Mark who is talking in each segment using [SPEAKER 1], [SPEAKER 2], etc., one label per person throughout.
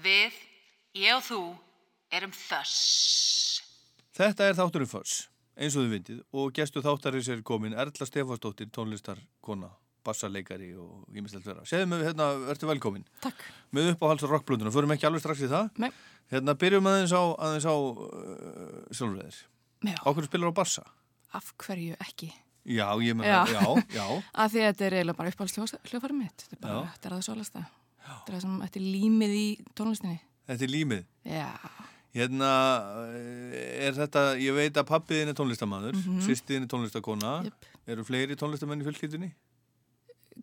[SPEAKER 1] Við, ég og þú, erum þöss.
[SPEAKER 2] Þetta er þátturinn Föss, eins og þið vindið, og gestu þáttarins er komin Erla Stefánsdóttir, tónlistarkona, bassarleikari og ímislegt vera. Segðu mig, hérna, ertu velkomin.
[SPEAKER 3] Takk.
[SPEAKER 2] Með upp á hals og rockblönduna, förum ekki alveg strax í það.
[SPEAKER 3] Nei.
[SPEAKER 2] Hérna, byrjum aðeins á, aðeins á uh, sjálfræðir.
[SPEAKER 3] Já,
[SPEAKER 2] Á hverju spilar á bassa?
[SPEAKER 3] af hverju ekki?
[SPEAKER 2] Já, ég meina,
[SPEAKER 3] Já.
[SPEAKER 2] já, já.
[SPEAKER 3] Af því að þetta er eiginlega bara uppáhaldsljófarið mitt. Þetta er bara,
[SPEAKER 2] Já.
[SPEAKER 3] þetta er að það svolasta. Þetta er það sem þetta er límið í tónlistinni.
[SPEAKER 2] Þetta er límið.
[SPEAKER 3] Já,
[SPEAKER 2] Hérna, eh, er þetta, ég veit að pappiðin er tónlistamæður, mm -hmm. sýstiðin er tónlistakona.
[SPEAKER 3] Jöp.
[SPEAKER 2] Eru fleiri tónlistamenn í fjölskyldinni?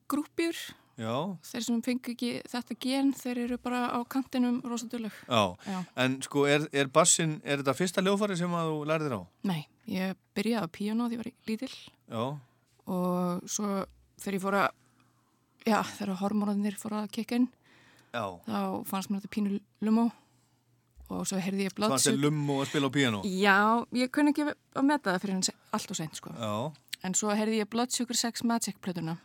[SPEAKER 3] grúpjur,
[SPEAKER 2] Já.
[SPEAKER 3] þeir sem fengi ekki þetta gen, þeir eru bara á kantinum rosadulög.
[SPEAKER 2] Já.
[SPEAKER 3] Já.
[SPEAKER 2] En sko, er, er bassin, er þetta fyrsta ljófari sem að þú lærðir á?
[SPEAKER 3] Nei, ég byrjaði á píano því ég var lítil
[SPEAKER 2] Já.
[SPEAKER 3] og svo þegar ég fór að, já, þegar hormónarnir fór að kikkin,
[SPEAKER 2] Já.
[SPEAKER 3] þá fannst mér þetta pínu lumó og svo heyrði ég
[SPEAKER 2] Það er
[SPEAKER 3] blátsug.
[SPEAKER 2] lumm og að spila á píano.
[SPEAKER 3] Já, ég kunni ekki að meta það fyrir hann allt og seint, sko.
[SPEAKER 2] Já.
[SPEAKER 3] En svo heyrði ég Blood Sugar Sex Magic plötuna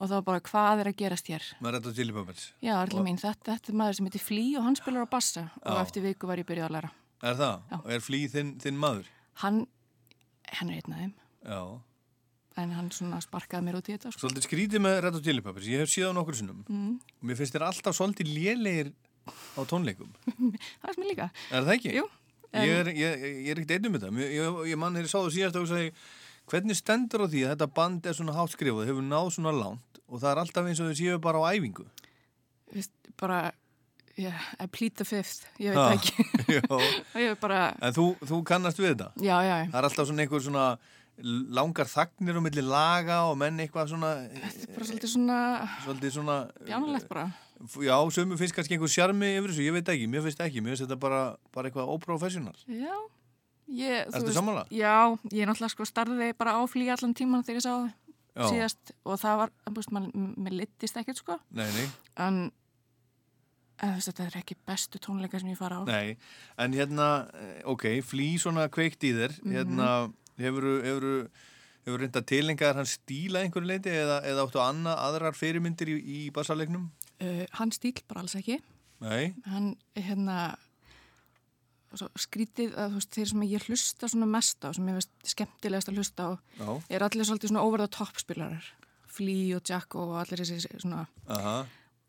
[SPEAKER 3] og þá bara hvað er að gerast hér?
[SPEAKER 2] Með rætt á Chili Peppers.
[SPEAKER 3] Já, allir mín, þetta, þetta er maður sem heitir Flea og hann spilar á bassa og eftir viku var ég byrjuð að læra.
[SPEAKER 2] Er það?
[SPEAKER 3] Já.
[SPEAKER 2] Og er flý þinn, þinn maður?
[SPEAKER 3] Hann, hann er einn af þeim,
[SPEAKER 2] Já.
[SPEAKER 3] en hann svona sparkaði mér út í þetta, sko.
[SPEAKER 2] Svolítið skrítið með rætt á Chili Peppers. Ég hef síðan nokkur sinnum. Mm. Mér finnst þér alltaf svolítið lélegir á tónleikum.
[SPEAKER 3] Það er mér líka.
[SPEAKER 2] Er það ekki?
[SPEAKER 3] Jú,
[SPEAKER 2] Ég er, ég, ég er ekkert einnum með það. Ég, ég, ég mann þegar ég sá þú síðast og segi, hvernig stendur á því að þetta band er svona hátt skrifað, hefur náð svona langt og það er alltaf eins og þau séu bara á æfingu.
[SPEAKER 3] Vist, bara, yeah, I plead the fifth, ég veit
[SPEAKER 2] Ha.
[SPEAKER 3] það ekki.
[SPEAKER 2] Já.
[SPEAKER 3] ég er bara,
[SPEAKER 2] En þú, þú kannast við þetta?
[SPEAKER 3] já, já,
[SPEAKER 2] Það er alltaf svona einhver svona langar þagnir á milli laga og menn eitthvað svona,
[SPEAKER 3] þetta er bara svolítið svona
[SPEAKER 2] svolítið svona,
[SPEAKER 3] bjánulegt bara.
[SPEAKER 2] já, sömu finnst kannski einhver sjarmi yfir þessu, ég veit ekki, mér finnst ekki, mér finnst þetta bara, bara eitthvað óprofessional.
[SPEAKER 3] Já, ég,
[SPEAKER 2] Ertu sammála?
[SPEAKER 3] Já, ég náttúrulega sko starfiði bara á flýja allan tíman þegar ég sá það.
[SPEAKER 2] Já,
[SPEAKER 3] síðast og það var, en, búst, man, mér littist ekkert sko
[SPEAKER 2] nei, nei,
[SPEAKER 3] en en þú veist, þetta er ekki bestu tónleika sem ég fara á
[SPEAKER 2] nei, en hérna, eh, ok, flý svona kveikt í þér,
[SPEAKER 3] Mhm.
[SPEAKER 2] hérna, hefuru, hefuru, hefur reynda tilengar hann stíla einhverju leiti eða, eða áttu annað aðrar fyrirmyndir í, í bassalegnum?
[SPEAKER 3] uh, hann stíl bara alls ekki
[SPEAKER 2] Nei,
[SPEAKER 3] hann hérna svo skrítið að þú veist, þeir sem ég hlusta svona mest á, sem ég veist skemmtilegast að hlusta á,
[SPEAKER 2] já,
[SPEAKER 3] er allir svolítið svona over the top spilarar, Flea og Jacko og allir þessi svona
[SPEAKER 2] aha,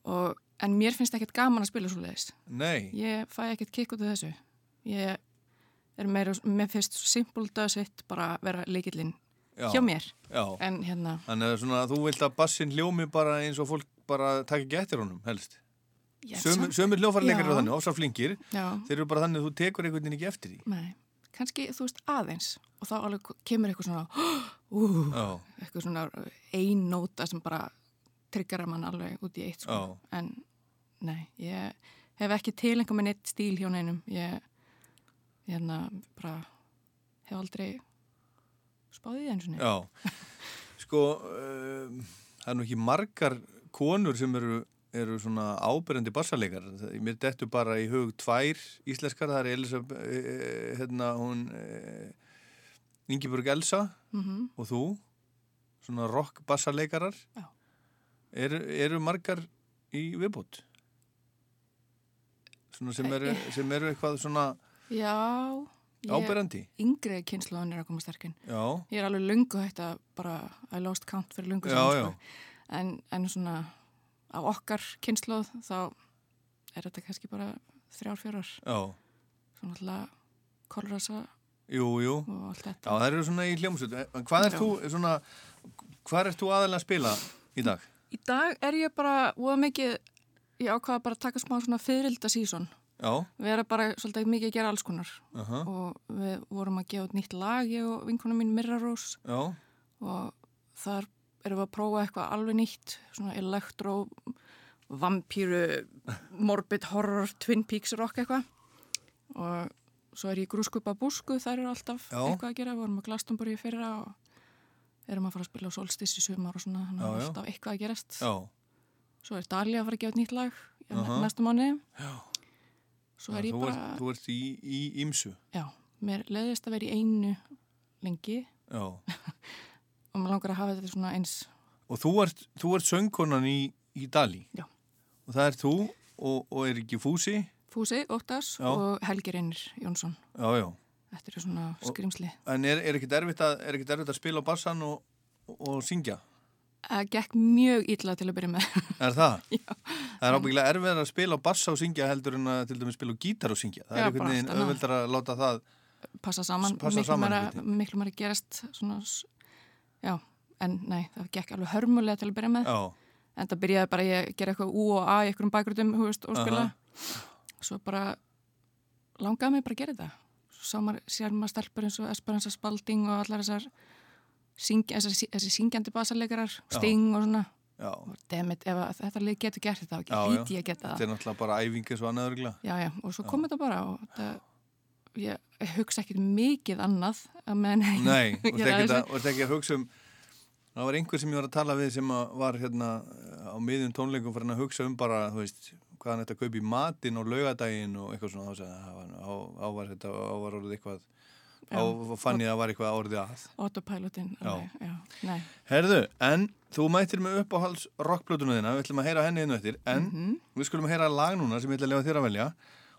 [SPEAKER 3] og, en mér finnst ekkert gaman að spila svo leiðis
[SPEAKER 2] nei,
[SPEAKER 3] ég fæ ekkert kikk út af þessu ég er meira, mér finnst simple does it bara vera leikillinn
[SPEAKER 2] já,
[SPEAKER 3] hjá mér
[SPEAKER 2] já.
[SPEAKER 3] en hérna,
[SPEAKER 2] Þannig að svona, þú vilt að bassin hljómi bara eins og fólk bara takk ekki eftir honum, helst.
[SPEAKER 3] ég er
[SPEAKER 2] Sömur,
[SPEAKER 3] samt-
[SPEAKER 2] sömur hljófarleikar
[SPEAKER 3] Já.
[SPEAKER 2] eru þannig, ofsa flinkir,
[SPEAKER 3] já,
[SPEAKER 2] þeir eru bara þannig að þú tekur einhvern veginn ekki eftir því.
[SPEAKER 3] nei, kannski þú veist aðeins og þá alveg kemur eitthvað svona uh,
[SPEAKER 2] Já,
[SPEAKER 3] eitthvað svona ein nóta sem bara tryggar mann alveg út í eitt sko.
[SPEAKER 2] Já.
[SPEAKER 3] en nei, ég hef ekki tilengað með neitt stíl hjá neinum ég hérna bara hef aldrei spáðið því eins og neitt
[SPEAKER 2] já. Sko, um, það er nú ekki margar konur sem eru, eru svona ábyrjandi bassarleikar. Mér dettu bara í hug tvær íslenskar, það er Elisabeth, eh, hérna hún, eh, Ingeborg Elsa
[SPEAKER 3] mm -hmm.
[SPEAKER 2] og þú, svona rock bassarleikarar.
[SPEAKER 3] Já.
[SPEAKER 2] Eru, eru margar í viðbútt? Svona sem eru, sem eru eitthvað svona
[SPEAKER 3] Já, ég,
[SPEAKER 2] áberandi?
[SPEAKER 3] yngri kynnslóðin er að koma sterkinn.
[SPEAKER 2] Já,
[SPEAKER 3] Ég er alveg lungu hægt að bara, I lost count fyrir lungu
[SPEAKER 2] Já,
[SPEAKER 3] saman,
[SPEAKER 2] já.
[SPEAKER 3] sko. En, en svona, á okkar kynnslóð þá er þetta kannski bara þrjár, fjórar.
[SPEAKER 2] já,
[SPEAKER 3] Svona alltaf kolrasa
[SPEAKER 2] jú, jú.
[SPEAKER 3] og allt
[SPEAKER 2] Já,
[SPEAKER 3] þetta.
[SPEAKER 2] það eru svona í hljómsveit. En hvað ert
[SPEAKER 3] Já.
[SPEAKER 2] þú, eh, svona, hvað ert þú aðalega að spila í dag?
[SPEAKER 3] Í dag er ég bara, óða mikið, ég ákvaða bara að taka smá svona fyririlda sísón.
[SPEAKER 2] Já,
[SPEAKER 3] Við erum bara svolítið mikið að gera alls konar.
[SPEAKER 2] uh -huh,
[SPEAKER 3] Og við vorum að gefa út nýtt lag, ég og vinkonum mín Mirra Rós.
[SPEAKER 2] já,
[SPEAKER 3] og þar erum við að prófa eitthvað alveg nýtt, svona elektró, vampíru, morbid horror, Twin Peaks rock eitthvað og svo er ég grúskupa búsku, þar eru alltaf
[SPEAKER 2] Já.
[SPEAKER 3] eitthvað að gera, við vorum að Glastonbury í fyrra og erum að fara að spila á Solstis í sumar og svona, þannig
[SPEAKER 2] Já,
[SPEAKER 3] að
[SPEAKER 2] já.
[SPEAKER 3] alltaf eitthvað að gerast.
[SPEAKER 2] já,
[SPEAKER 3] Svo er Dalia að fara að gefa út nýtt lag í
[SPEAKER 2] Aha.
[SPEAKER 3] næsta mánu.
[SPEAKER 2] já.
[SPEAKER 3] Svo er ég
[SPEAKER 2] þú,
[SPEAKER 3] bara,
[SPEAKER 2] ert, þú ert í, í ímsu.
[SPEAKER 3] já, mér leðist að vera í einu lengi
[SPEAKER 2] Já,
[SPEAKER 3] og mér langar að hafa þetta svona eins
[SPEAKER 2] og þú ert, þú ert söngkonan í, í Dali.
[SPEAKER 3] Já.
[SPEAKER 2] Og það ert þú og, og er ekki fúsi
[SPEAKER 3] Fúsi Óttars
[SPEAKER 2] Já.
[SPEAKER 3] og Helgi Reynir Jónsson.
[SPEAKER 2] já, já.
[SPEAKER 3] Þetta eru svona skrimsli.
[SPEAKER 2] en er, er ekki erfitt að, er ekkit erfitt að spila á bassan og, og syngja
[SPEAKER 3] Það gekk mjög illa til að byrja með.
[SPEAKER 2] er það? já það er ábyggilega erfitt að spila á bassa og syngja heldur en að til dæmis spila á gítar og syngja það
[SPEAKER 3] Já,
[SPEAKER 2] er
[SPEAKER 3] bara
[SPEAKER 2] einhvern veginn
[SPEAKER 3] allt annað.
[SPEAKER 2] auðveldar að láta það
[SPEAKER 3] Passa saman.
[SPEAKER 2] S- passa
[SPEAKER 3] miklu
[SPEAKER 2] saman
[SPEAKER 3] meira-
[SPEAKER 2] hluti.
[SPEAKER 3] Miklu maður gerast svona, s- já, en nei, það gekk alveg hörmulega til að byrja með.
[SPEAKER 2] já,
[SPEAKER 3] En það byrjaði bara ég að gera eitthvað U og A í einhverjum bakgrutum, hú veist, og spila.
[SPEAKER 2] Aha.
[SPEAKER 3] Svo bara langaði mig bara að gera þetta. Svo sá maður, sér maður stelpur eins og Esperanza Spalding og allar þessar syng, þessi, þessi syngjandi basaleikarar, Sting og svona.
[SPEAKER 2] já.
[SPEAKER 3] Og Dammit, ef að þetta lið getur gert þetta, þá
[SPEAKER 2] Já, já.
[SPEAKER 3] hlýti ég að geta
[SPEAKER 2] þetta
[SPEAKER 3] það.
[SPEAKER 2] er náttúrulega bara æfingi svo annað örgulega
[SPEAKER 3] Já, já, og svo kom þetta bara og það, ég hugsa ekkert mikið annað að meðan
[SPEAKER 2] Nei, og
[SPEAKER 3] ég
[SPEAKER 2] þetta
[SPEAKER 3] ræði
[SPEAKER 2] ekki,
[SPEAKER 3] þessu.
[SPEAKER 2] að- varstu ekki að hugsa um það var einhver sem ég var að tala við sem að var hérna á miðjum tónleikum fyrir að hugsa um bara, þú veist, hvað hann ætti að kaupa í matinn og laugadaginn og eitthvað svona þá sagði hann, "Á var- á, á var þetta, á var orðið eitthvað á fann ég að var eitthvað orðið að
[SPEAKER 3] Autopilotin,
[SPEAKER 2] Já.
[SPEAKER 3] alveg, já, nei.
[SPEAKER 2] Herðu, en þú mættir með uppáhalds rockblötuna þína, við ætlum að heyra henni einu eftir en við skulum heyra lag núna sem ég ætla að lefa þér að velja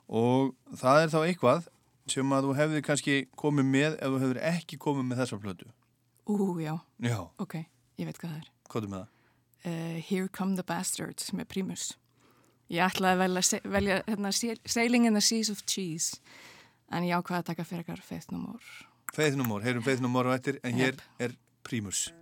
[SPEAKER 2] og það er þá eitthvað sem að þú hefði kannski komið með ef þú hefur ekki komið með þessa blötu
[SPEAKER 3] Ú, já,
[SPEAKER 2] Já,
[SPEAKER 3] ok, ég veit hvað það er.
[SPEAKER 2] hvað er með það?
[SPEAKER 3] Uh, Here Come the Bastards með Primus. Ég ætlaði að velja, se- velja hérna, Sail- Sailing in the Seas of Cheese, en ég ákvaði að taka fyrir ykkar Faith No More.
[SPEAKER 2] Feithnumór, heyrum feithnumór á eftir en hér
[SPEAKER 3] Jep.
[SPEAKER 2] er Prímus.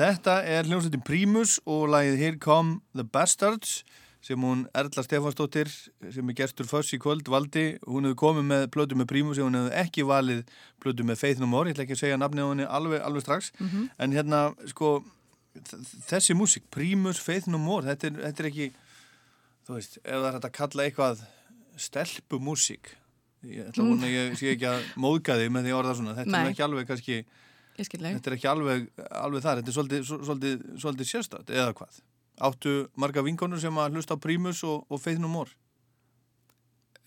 [SPEAKER 2] Þetta er hljómsveitin Prímus og lagið Here Come the Bastards sem hún Erla Stefansdóttir sem er gestur föss í kvöld valdi hún hefði komið með plötu með Prímus og hún hefði ekki valið plötu með Faith No More ég ætla ekki að segja nafnið á henni alveg, alveg strax en hérna sko þ- þessi músík, Prímus, Faith No More þetta er, þetta er ekki þú veist, ef það er hægt að kalla eitthvað stelpumúsík ég ætla að vona að ég sé ekki að móðga þig með því að orða svona þetta er
[SPEAKER 3] Nei.
[SPEAKER 2] nú ekki alveg kannski
[SPEAKER 3] ég skil leið.
[SPEAKER 2] Þetta er ekki alveg, alveg þar, þetta er svolítið, svo- svolítið, svolítið sérstætt, eða hvað? Áttu marga vinkonur sem að hlusta á Prímus og, og Feithnum Mór?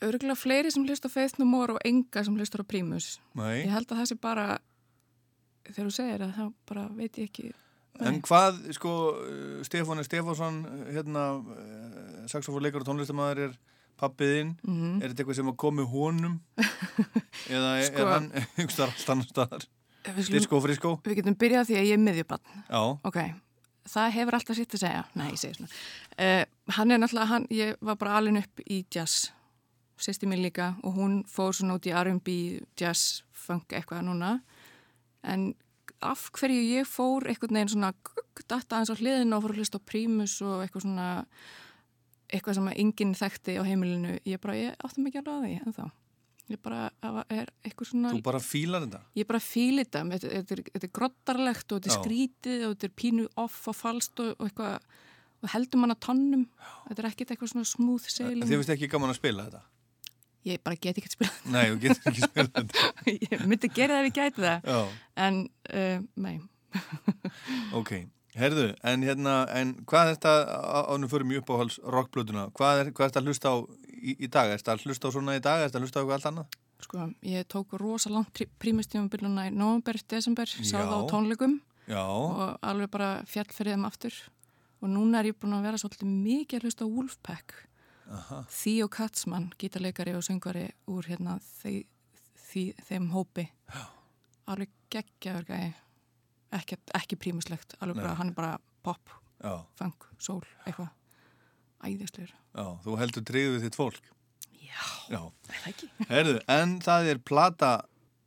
[SPEAKER 3] Örgulega fleiri sem hlustar á Faith No More og enga sem hlustar á Primus.
[SPEAKER 2] Nei.
[SPEAKER 3] Ég held að það sé bara, þegar þú segir það, þá bara veit ég ekki.
[SPEAKER 2] En hvað, sko, eh, Stefán Stefánsson, eh, hérna, saxofórleikar og tónlistamæður er pappiðinn,
[SPEAKER 3] Mm
[SPEAKER 2] er þetta eitthvað sem að komi honum? Eða er,
[SPEAKER 3] Sko.
[SPEAKER 2] er hann einhvers þar allt annar staðar?
[SPEAKER 3] við, skulum,
[SPEAKER 2] Disko, frisko?
[SPEAKER 3] við getum byrjað á því að ég er miðjubann.
[SPEAKER 2] Já,
[SPEAKER 3] Ok, það hefur alltaf sitt að segja. Nei, ég segi svona. Uh, hann er náttúrulega, hann, ég var bara alin upp í jazz, sýsti mín líka, og hún fór svona út í R&B, jazz, funk eitthvað núna. En af hverju ég fór einhvern veginn svona gugg, datta aðeins á hliðin og fór að hlusta á prímus og eitthvað svona, eitthvað sem að enginn þekkti á heimilinu, ég bara, ég átti mikið alveg að því ennþá. Ég bara, það var- er eitthvað svona...
[SPEAKER 2] þú bara fílar þetta.
[SPEAKER 3] Ég bara fíli þetta, þetta, þetta, er- þetta er grottarlegt og þetta er
[SPEAKER 2] Já.
[SPEAKER 3] skrítið og þetta er pínu off og falskt og, og eitthvað, og heldur mann að tannum, þetta er ekkert eitthvað svona smooth
[SPEAKER 2] En
[SPEAKER 3] sailing.
[SPEAKER 2] Þið finnst ekki gaman að spila þetta?
[SPEAKER 3] Ég bara get ekki að spila þetta,
[SPEAKER 2] Nei, þú getur ekki spila þetta.
[SPEAKER 3] ég myndi gera það ef ég gæti það,
[SPEAKER 2] Já.
[SPEAKER 3] en uh, nei,
[SPEAKER 2] Ok, herðu, en hérna, en hvað er þetta, ánum fyrir mjög uppáhalds rockblötuna, hvað er, hvað er þetta að hlusta á í, í dag? Er þetta að hlusta á svona í dag, er þetta að hlusta á eitthvað allt annað?
[SPEAKER 3] sko, ég tók rosa langt prímustífumbiluna í november, desember, sá
[SPEAKER 2] Já.
[SPEAKER 3] það á tónleikum
[SPEAKER 2] Já,
[SPEAKER 3] og alveg bara fjallferðið um aftur og núna er ég búin að vera svolítið mikið að hlusta á Wolfpack
[SPEAKER 2] Aha.
[SPEAKER 3] Theo Katzmann, gítarleikari og söngvari úr hérna þe þe þeim hópi Já. alveg geggjaður gæði ekki, ekki prímuslegt, alveg bara hann er bara pop,
[SPEAKER 2] já,
[SPEAKER 3] funk, soul, eitthvað æðislegur
[SPEAKER 2] já, þú heldur treyðu þitt fólk.
[SPEAKER 3] Já,
[SPEAKER 2] Já,
[SPEAKER 3] er það ekki?
[SPEAKER 2] herðu, en það er plata,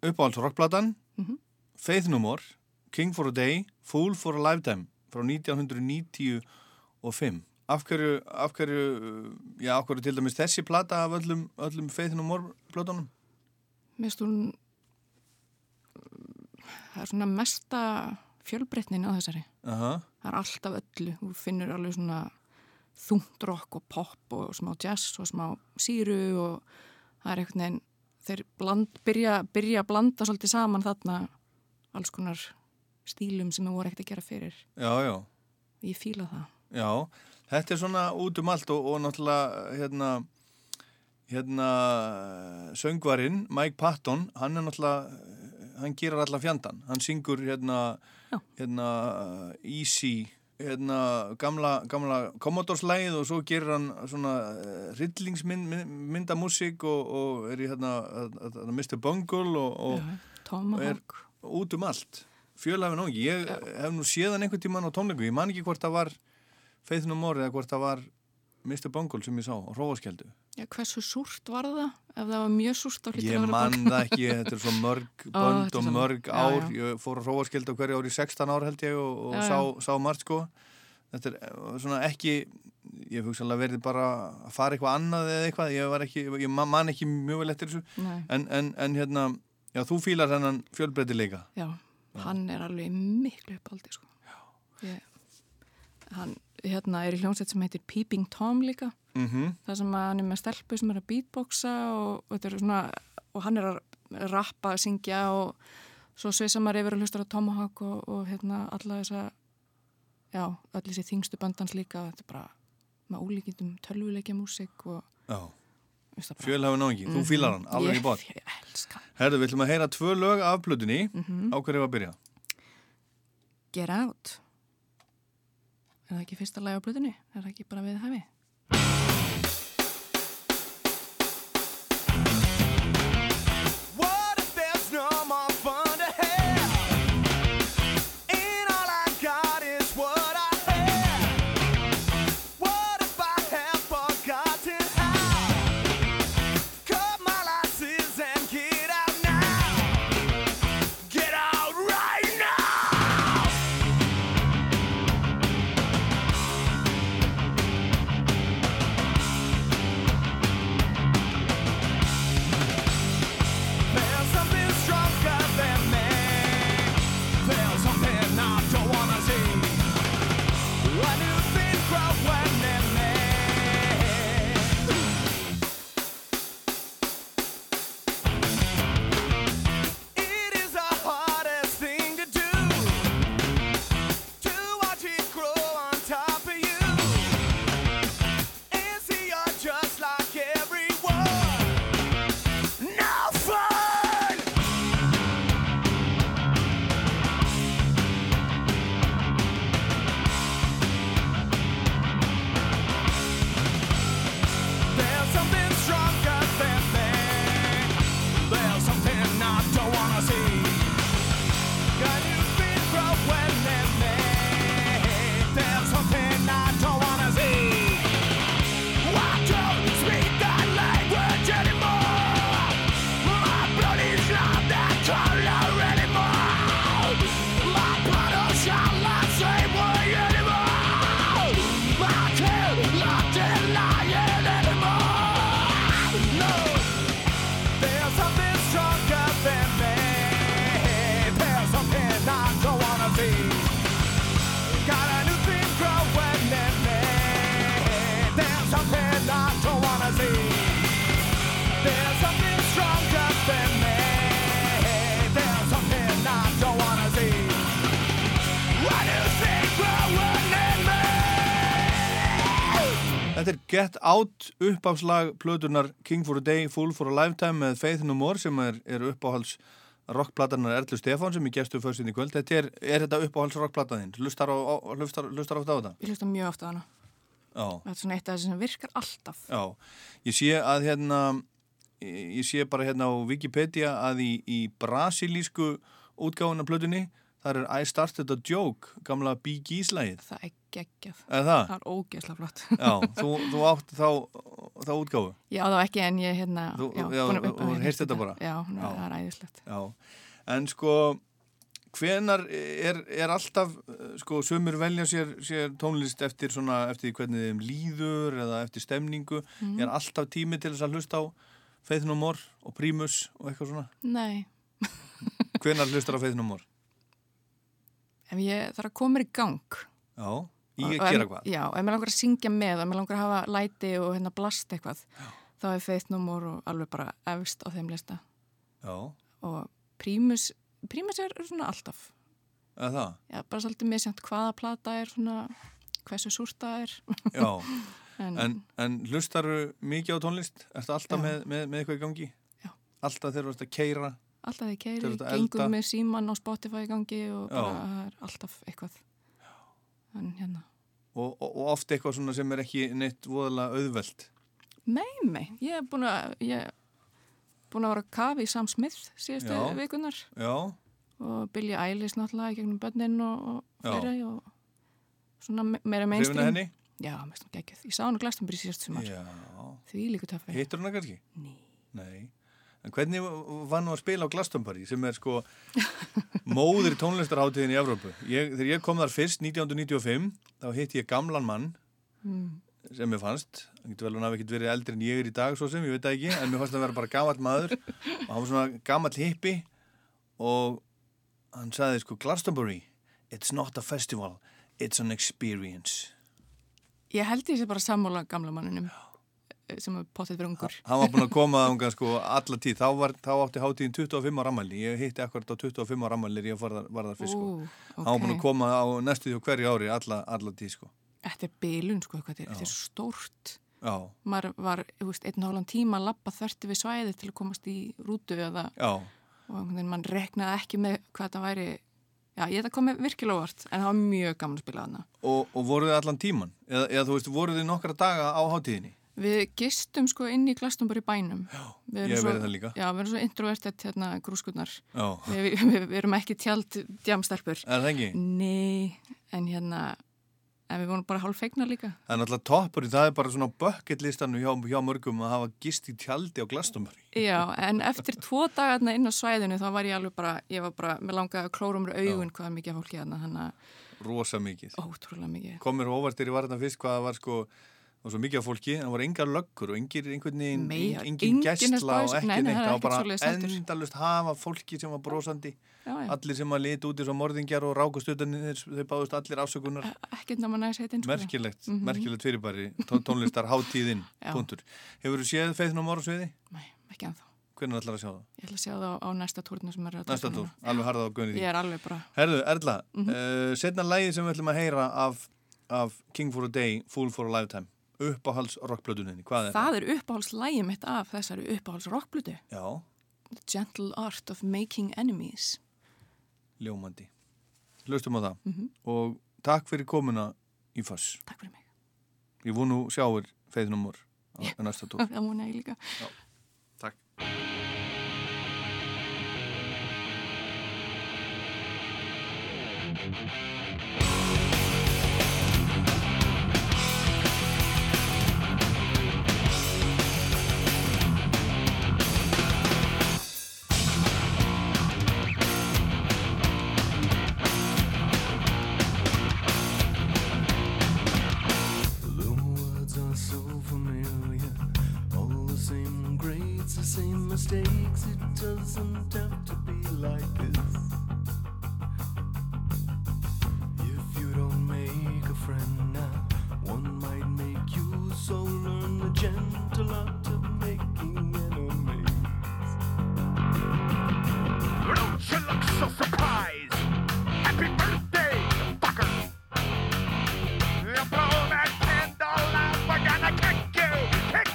[SPEAKER 2] uppáhalds rockblatan,
[SPEAKER 3] Mhm.
[SPEAKER 2] Faith No More, King for a Day, Fool for a Lifetime frá 1995. Af hverju, af hverju, já, af hverju til dæmis þessi plata af öllum, öllum Faith No More blötunum?
[SPEAKER 3] Mér finnst hún það er svona mesta fjölbreytnin á þessari
[SPEAKER 2] Aha,
[SPEAKER 3] það er alltaf öllu, þú finnur alveg svona þungt rock og pop og smá jazz og smá síru og það er einhvern veginn þeir bland, byrja, byrja að blanda svolítið saman þarna alls konar stílum sem við voru ekkert að gera fyrir
[SPEAKER 2] já, já.
[SPEAKER 3] ég fíla það
[SPEAKER 2] Já, þetta er svona út um allt og, og náttúrulega hérna, hérna söngvarinn Mike Patton, hann er náttúrulega hann gerir allan fjandan, hann syngur hérna,
[SPEAKER 3] Já.
[SPEAKER 2] hérna Easy hérna, gamla, gamla Commodores-lægið og svo gerir hann svona eh, rillingsmyndamúsík og, og er í hérna, hérna Mr. Bungle og, og
[SPEAKER 3] Já, Tomahawk
[SPEAKER 2] út um allt fjölhafin og ekki, ég hef nú séð hann einhvern tíman á tónleiku, ég man ekki hvort það var Faith No More eða hvort það var Mr. Bungle sem ég sá á Róaskjöldu
[SPEAKER 3] Já, hversu súrt var það? ef það var mjög súrt þá hlýtur
[SPEAKER 2] ég
[SPEAKER 3] að vera
[SPEAKER 2] man
[SPEAKER 3] bók.
[SPEAKER 2] það ekki, þetta er svo mörg
[SPEAKER 3] Ó,
[SPEAKER 2] bönd
[SPEAKER 3] þetta er
[SPEAKER 2] og
[SPEAKER 3] svo mörg.
[SPEAKER 2] mörg
[SPEAKER 3] Já,
[SPEAKER 2] ár
[SPEAKER 3] já.
[SPEAKER 2] ég fór á Róaskjöldu á hverju ári í 16 ár held ég og, og
[SPEAKER 3] Já, já.
[SPEAKER 2] sá, sá margt sko þetta er eh, svona ekki ég hef hugsanlega verið bara að fara eitthvað annað eða eitthvað, ég var ekki, ég man- man ekki mjög vel eftir þessu,
[SPEAKER 3] Nei,
[SPEAKER 2] en, en, en hérna já, þú fílar hennan fjölbreytileika
[SPEAKER 3] já, hann er alveg í miklu uppaldi sko. ég, hann hérna er í hljómsveit sem heitir Peeping Tom líka
[SPEAKER 2] mhm
[SPEAKER 3] það sem að hann er með stelpu sem er að beatboxa og, og, þetta eru svona, og hann er að rappa, syngja og svo sveisa maður yfir að hlusta á Tomahawk og, og hérna alla þessa já, öll þessi þingstu bandans líka þetta er bara með ólíkindum tölvuleikja músík og
[SPEAKER 2] Já,
[SPEAKER 3] veist það bara-
[SPEAKER 2] fjölhafin á ekki, þú fílar hann, alveg í bótt.
[SPEAKER 3] Ég, ég elska hann.
[SPEAKER 2] Herðu, við ætlum að heyra tvö lög af plötunni, á hverju var að byrja?
[SPEAKER 3] Get Out Er það ekki fyrsta lagi á blöðinu? Er það ekki bara við hæfi?
[SPEAKER 4] What if there's no more fun to have? And all I got is what I have. What if I have forgotten how? Cut my losses and get out now. Get out right now.
[SPEAKER 2] Þetta er Get Out uppáfslag plötunar King for a Day, Fool for a Lifetime með Faith No More sem er, er uppáhalds rockplatanar Erlu Stefán sem ég gestu fyrstinn í kvöld. Þetta er, er þetta uppáhalds rockplataðinn? Lustar, á- á- lustar, lustar ofta á þetta?
[SPEAKER 3] Ég hlusta mjög ofta á hana.
[SPEAKER 2] Já.
[SPEAKER 3] Þetta er svona eitt af þessi sem virkar alltaf.
[SPEAKER 2] Já. Ég sé að hérna, ég sé bara hérna á Wikipedia að í, í brasilísku útgáfuna plötunni, þar er I Started a Joke, gamla Bee Gees lagið.
[SPEAKER 3] Það er geggjað.
[SPEAKER 2] Er það?
[SPEAKER 3] Það er ógeðslega flott.
[SPEAKER 2] Já, þú, þú átt þá, þá útgáfu.
[SPEAKER 3] Já, það var ekki en ég hérna...
[SPEAKER 2] Þú- já,
[SPEAKER 3] búin
[SPEAKER 2] þú-
[SPEAKER 3] að upphafja
[SPEAKER 2] þú
[SPEAKER 3] hérna
[SPEAKER 2] heyrst þetta bara?
[SPEAKER 3] Já, ná,
[SPEAKER 2] Já.
[SPEAKER 3] það er æðislegt.
[SPEAKER 2] Já, en sko hvenar er, er alltaf eh, sko sömur velja sér, sér tónlist eftir svona, eftir því hvernig þeim líður eða eftir stemningu
[SPEAKER 3] Mhm.
[SPEAKER 2] er alltaf tími til þess að hlusta á Faith No More og Primus og eitthvað svona
[SPEAKER 3] Nei,
[SPEAKER 2] hvenar hlustar á Faith No More?
[SPEAKER 3] ef ég þarf að koma mér í gang...
[SPEAKER 2] Já, í að
[SPEAKER 3] Og- og
[SPEAKER 2] gera
[SPEAKER 3] ef-
[SPEAKER 2] hvað
[SPEAKER 3] Já, ef mér langar að syngja með, ef mér langar að hafa læti og hérna blast eitthvað, þá er Faith No More og alveg bara efst á þeim lista.
[SPEAKER 2] Já,
[SPEAKER 3] Og Prímus, Prímus er svona alltaf.
[SPEAKER 2] eða það
[SPEAKER 3] Já, bara svolítið misjant hvaða plata er svona, hversu súrta er.
[SPEAKER 2] Já,
[SPEAKER 3] En,
[SPEAKER 2] en, en hlustaru mikið á tónlist? Ertu alltaf
[SPEAKER 3] Já.
[SPEAKER 2] með, með, með eitthvað í gangi?
[SPEAKER 3] Já.
[SPEAKER 2] Alltaf þegar þú ert að keira
[SPEAKER 3] alltaf þið
[SPEAKER 2] Til
[SPEAKER 3] keiri,
[SPEAKER 2] þetta
[SPEAKER 3] gengum
[SPEAKER 2] elda.
[SPEAKER 3] með síman og Spotify í gangi og
[SPEAKER 2] Já.
[SPEAKER 3] bara það er alltaf eitthvað. En hérna,
[SPEAKER 2] og, og, og oft eitthvað svona sem er ekki neitt voðalega auðvelt
[SPEAKER 3] nei, nei, ég er búin að, ég er búin að vera að kafi í Sam Smith síðustu
[SPEAKER 2] Já.
[SPEAKER 3] vikunar.
[SPEAKER 2] Já,
[SPEAKER 3] og Billie Eilish náttúrulega í gegnum bönnin og, og
[SPEAKER 2] Já.
[SPEAKER 3] fleira og svona me- meira
[SPEAKER 2] hrifin að
[SPEAKER 3] mainstream
[SPEAKER 2] henni
[SPEAKER 3] Já, mest hún geggjöð. Ég sá hann á Glastonbury síðast sumar.
[SPEAKER 2] Já,
[SPEAKER 3] Því líku töffari.
[SPEAKER 2] hittur hana kannski?
[SPEAKER 3] Nei.
[SPEAKER 2] Nei. En hvernig var nú að spila á Glastonbury sem er sko móðir tónlistarháttiðin í Evrópu? Ég, þegar ég kom þar fyrst 1995 þá hitti ég gamlan mann
[SPEAKER 3] Mm.
[SPEAKER 2] sem ég fannst, hann getur vel hann hafi ekkert verið eldri en ég er í dag svo sem, ég veit það ekki en mér fannst hann vera bara gamall maður og hann var svona gamall hippi og hann sagði sko Glastonbury, it's not a festival it's an experience
[SPEAKER 3] Ég held ég sé bara sammála gamla manninum eh, sem er pottið verið ungur.
[SPEAKER 2] Hann var búin að koma þangað sko alla tíð, þá, var, þá átti hátíðin 25 ára ammæli, ég hitti akkurat á 25 ára ammæli þegar ég var þar, var þar fyrst sko.
[SPEAKER 3] Ú,
[SPEAKER 2] Hann var búin að
[SPEAKER 3] ok.
[SPEAKER 2] koma á næstu því á hverju ári alla, alla tíð sko.
[SPEAKER 3] Þetta er bilun, sko, hvað þetta er. Þetta er svo stórt.
[SPEAKER 2] Já,
[SPEAKER 3] Maður var, þú veist, einn og hálfan tíma að lappa þverti við svæði til að komast í rútu eða,
[SPEAKER 2] já,
[SPEAKER 3] og einhvern veginn mann reknaði ekki með hvað þetta væri. Já, ég þetta komið virkilega óvart, en það var mjög gaman að spila þarna.
[SPEAKER 2] og, og voruð þið allan tíman, eða, eða þú veist, voruð þið nokkra daga á hátíðinni?
[SPEAKER 3] Við gistum sko inn í glastum bara í bænum. Já,
[SPEAKER 2] ég hef verið það líka.
[SPEAKER 3] Já, við erum svo introvertið hérna grúskurnar.
[SPEAKER 2] Já,
[SPEAKER 3] Við, við, við erum ekki tjald djamstarpur.
[SPEAKER 2] er það ekki?
[SPEAKER 3] Nei, en hérna, en við vorum bara hálffegnar líka.
[SPEAKER 2] Það er náttúrulega toppur, það er bara svona bucketlistanu hjá, hjá mörgum að hafa gist í tjaldi á Glastonbury.
[SPEAKER 3] Já, en eftir tvo dagarna inn á svæðinu þá var ég alveg bara, ég var bara, mér langaði að klóra um augun hvað er mikið af fólki hérna, hann að
[SPEAKER 2] Rosa mikið.
[SPEAKER 3] ótrúlega mikið.
[SPEAKER 2] Komir og óvart er í varna fyrst hvað það var sko, það var svo mikið af fólki, það voru engar löggur og engir einhvern veginn,
[SPEAKER 3] Meira,
[SPEAKER 2] engin, engin
[SPEAKER 3] enginn
[SPEAKER 2] gæstla og
[SPEAKER 3] að spá í sig.
[SPEAKER 2] ekki
[SPEAKER 3] Nei,
[SPEAKER 2] neitt,
[SPEAKER 3] nei, það er
[SPEAKER 2] það var
[SPEAKER 3] ekkert svoleiðis
[SPEAKER 2] bara
[SPEAKER 3] heldur.
[SPEAKER 2] endalust hafa fólki sem var brosandi,
[SPEAKER 3] Já, já,
[SPEAKER 2] allir sem að liti út í svo morðingjar og rákustutanir, þau báðust allir afsökunar,
[SPEAKER 3] ekkert náma næs heitinn. sko.
[SPEAKER 2] merkilegt, merkilegt fyrirbæri, tón- tónlistar, hátíðinn,
[SPEAKER 3] Já.
[SPEAKER 2] punktur. Hefur þú séð feithn á morgunsviði?
[SPEAKER 3] Nei, ekki anþá.
[SPEAKER 2] Hvernig ætlar að sjá það?
[SPEAKER 3] Ég ætla að sjá það á, á næsta túrinu sem er að
[SPEAKER 2] Næsta
[SPEAKER 3] taka
[SPEAKER 2] túr,
[SPEAKER 3] núna.
[SPEAKER 2] alveg harða á guðinni því.
[SPEAKER 3] Ég er alveg bara,
[SPEAKER 2] Herðu, Erla, mm setna lægið sem við ætlum að heyra af, af King for a Day, Fool for a Lifetime, uppáhalds rockblöðuninni, hvað er það?
[SPEAKER 3] það er uppáhaldslægi mitt af þessari uppáhaldsrockblutu.
[SPEAKER 2] Já,
[SPEAKER 3] The Gentle Art of Making Enemies.
[SPEAKER 2] ljómandi. Hlustum á það og takk fyrir komuna í fass.
[SPEAKER 3] Takk fyrir mig.
[SPEAKER 2] Ég vonu sjáur feiðnumur á yeah. næsta tók.
[SPEAKER 3] Það múna ég líka.
[SPEAKER 2] takk.
[SPEAKER 4] The words are so familiar, all the same grades, the same mistakes. It doesn't have to be like this. If you don't make a friend now, one might make you. So learn the gentle art of making enemies.
[SPEAKER 5] Don't you look so surprised? Happy birthday, fucker! You blow that candle out, we're gonna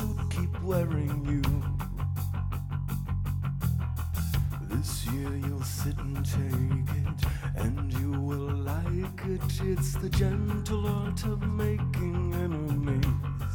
[SPEAKER 4] admiring you. This year you'll sit and take it, and you will like it. It's the gentle art of making enemies.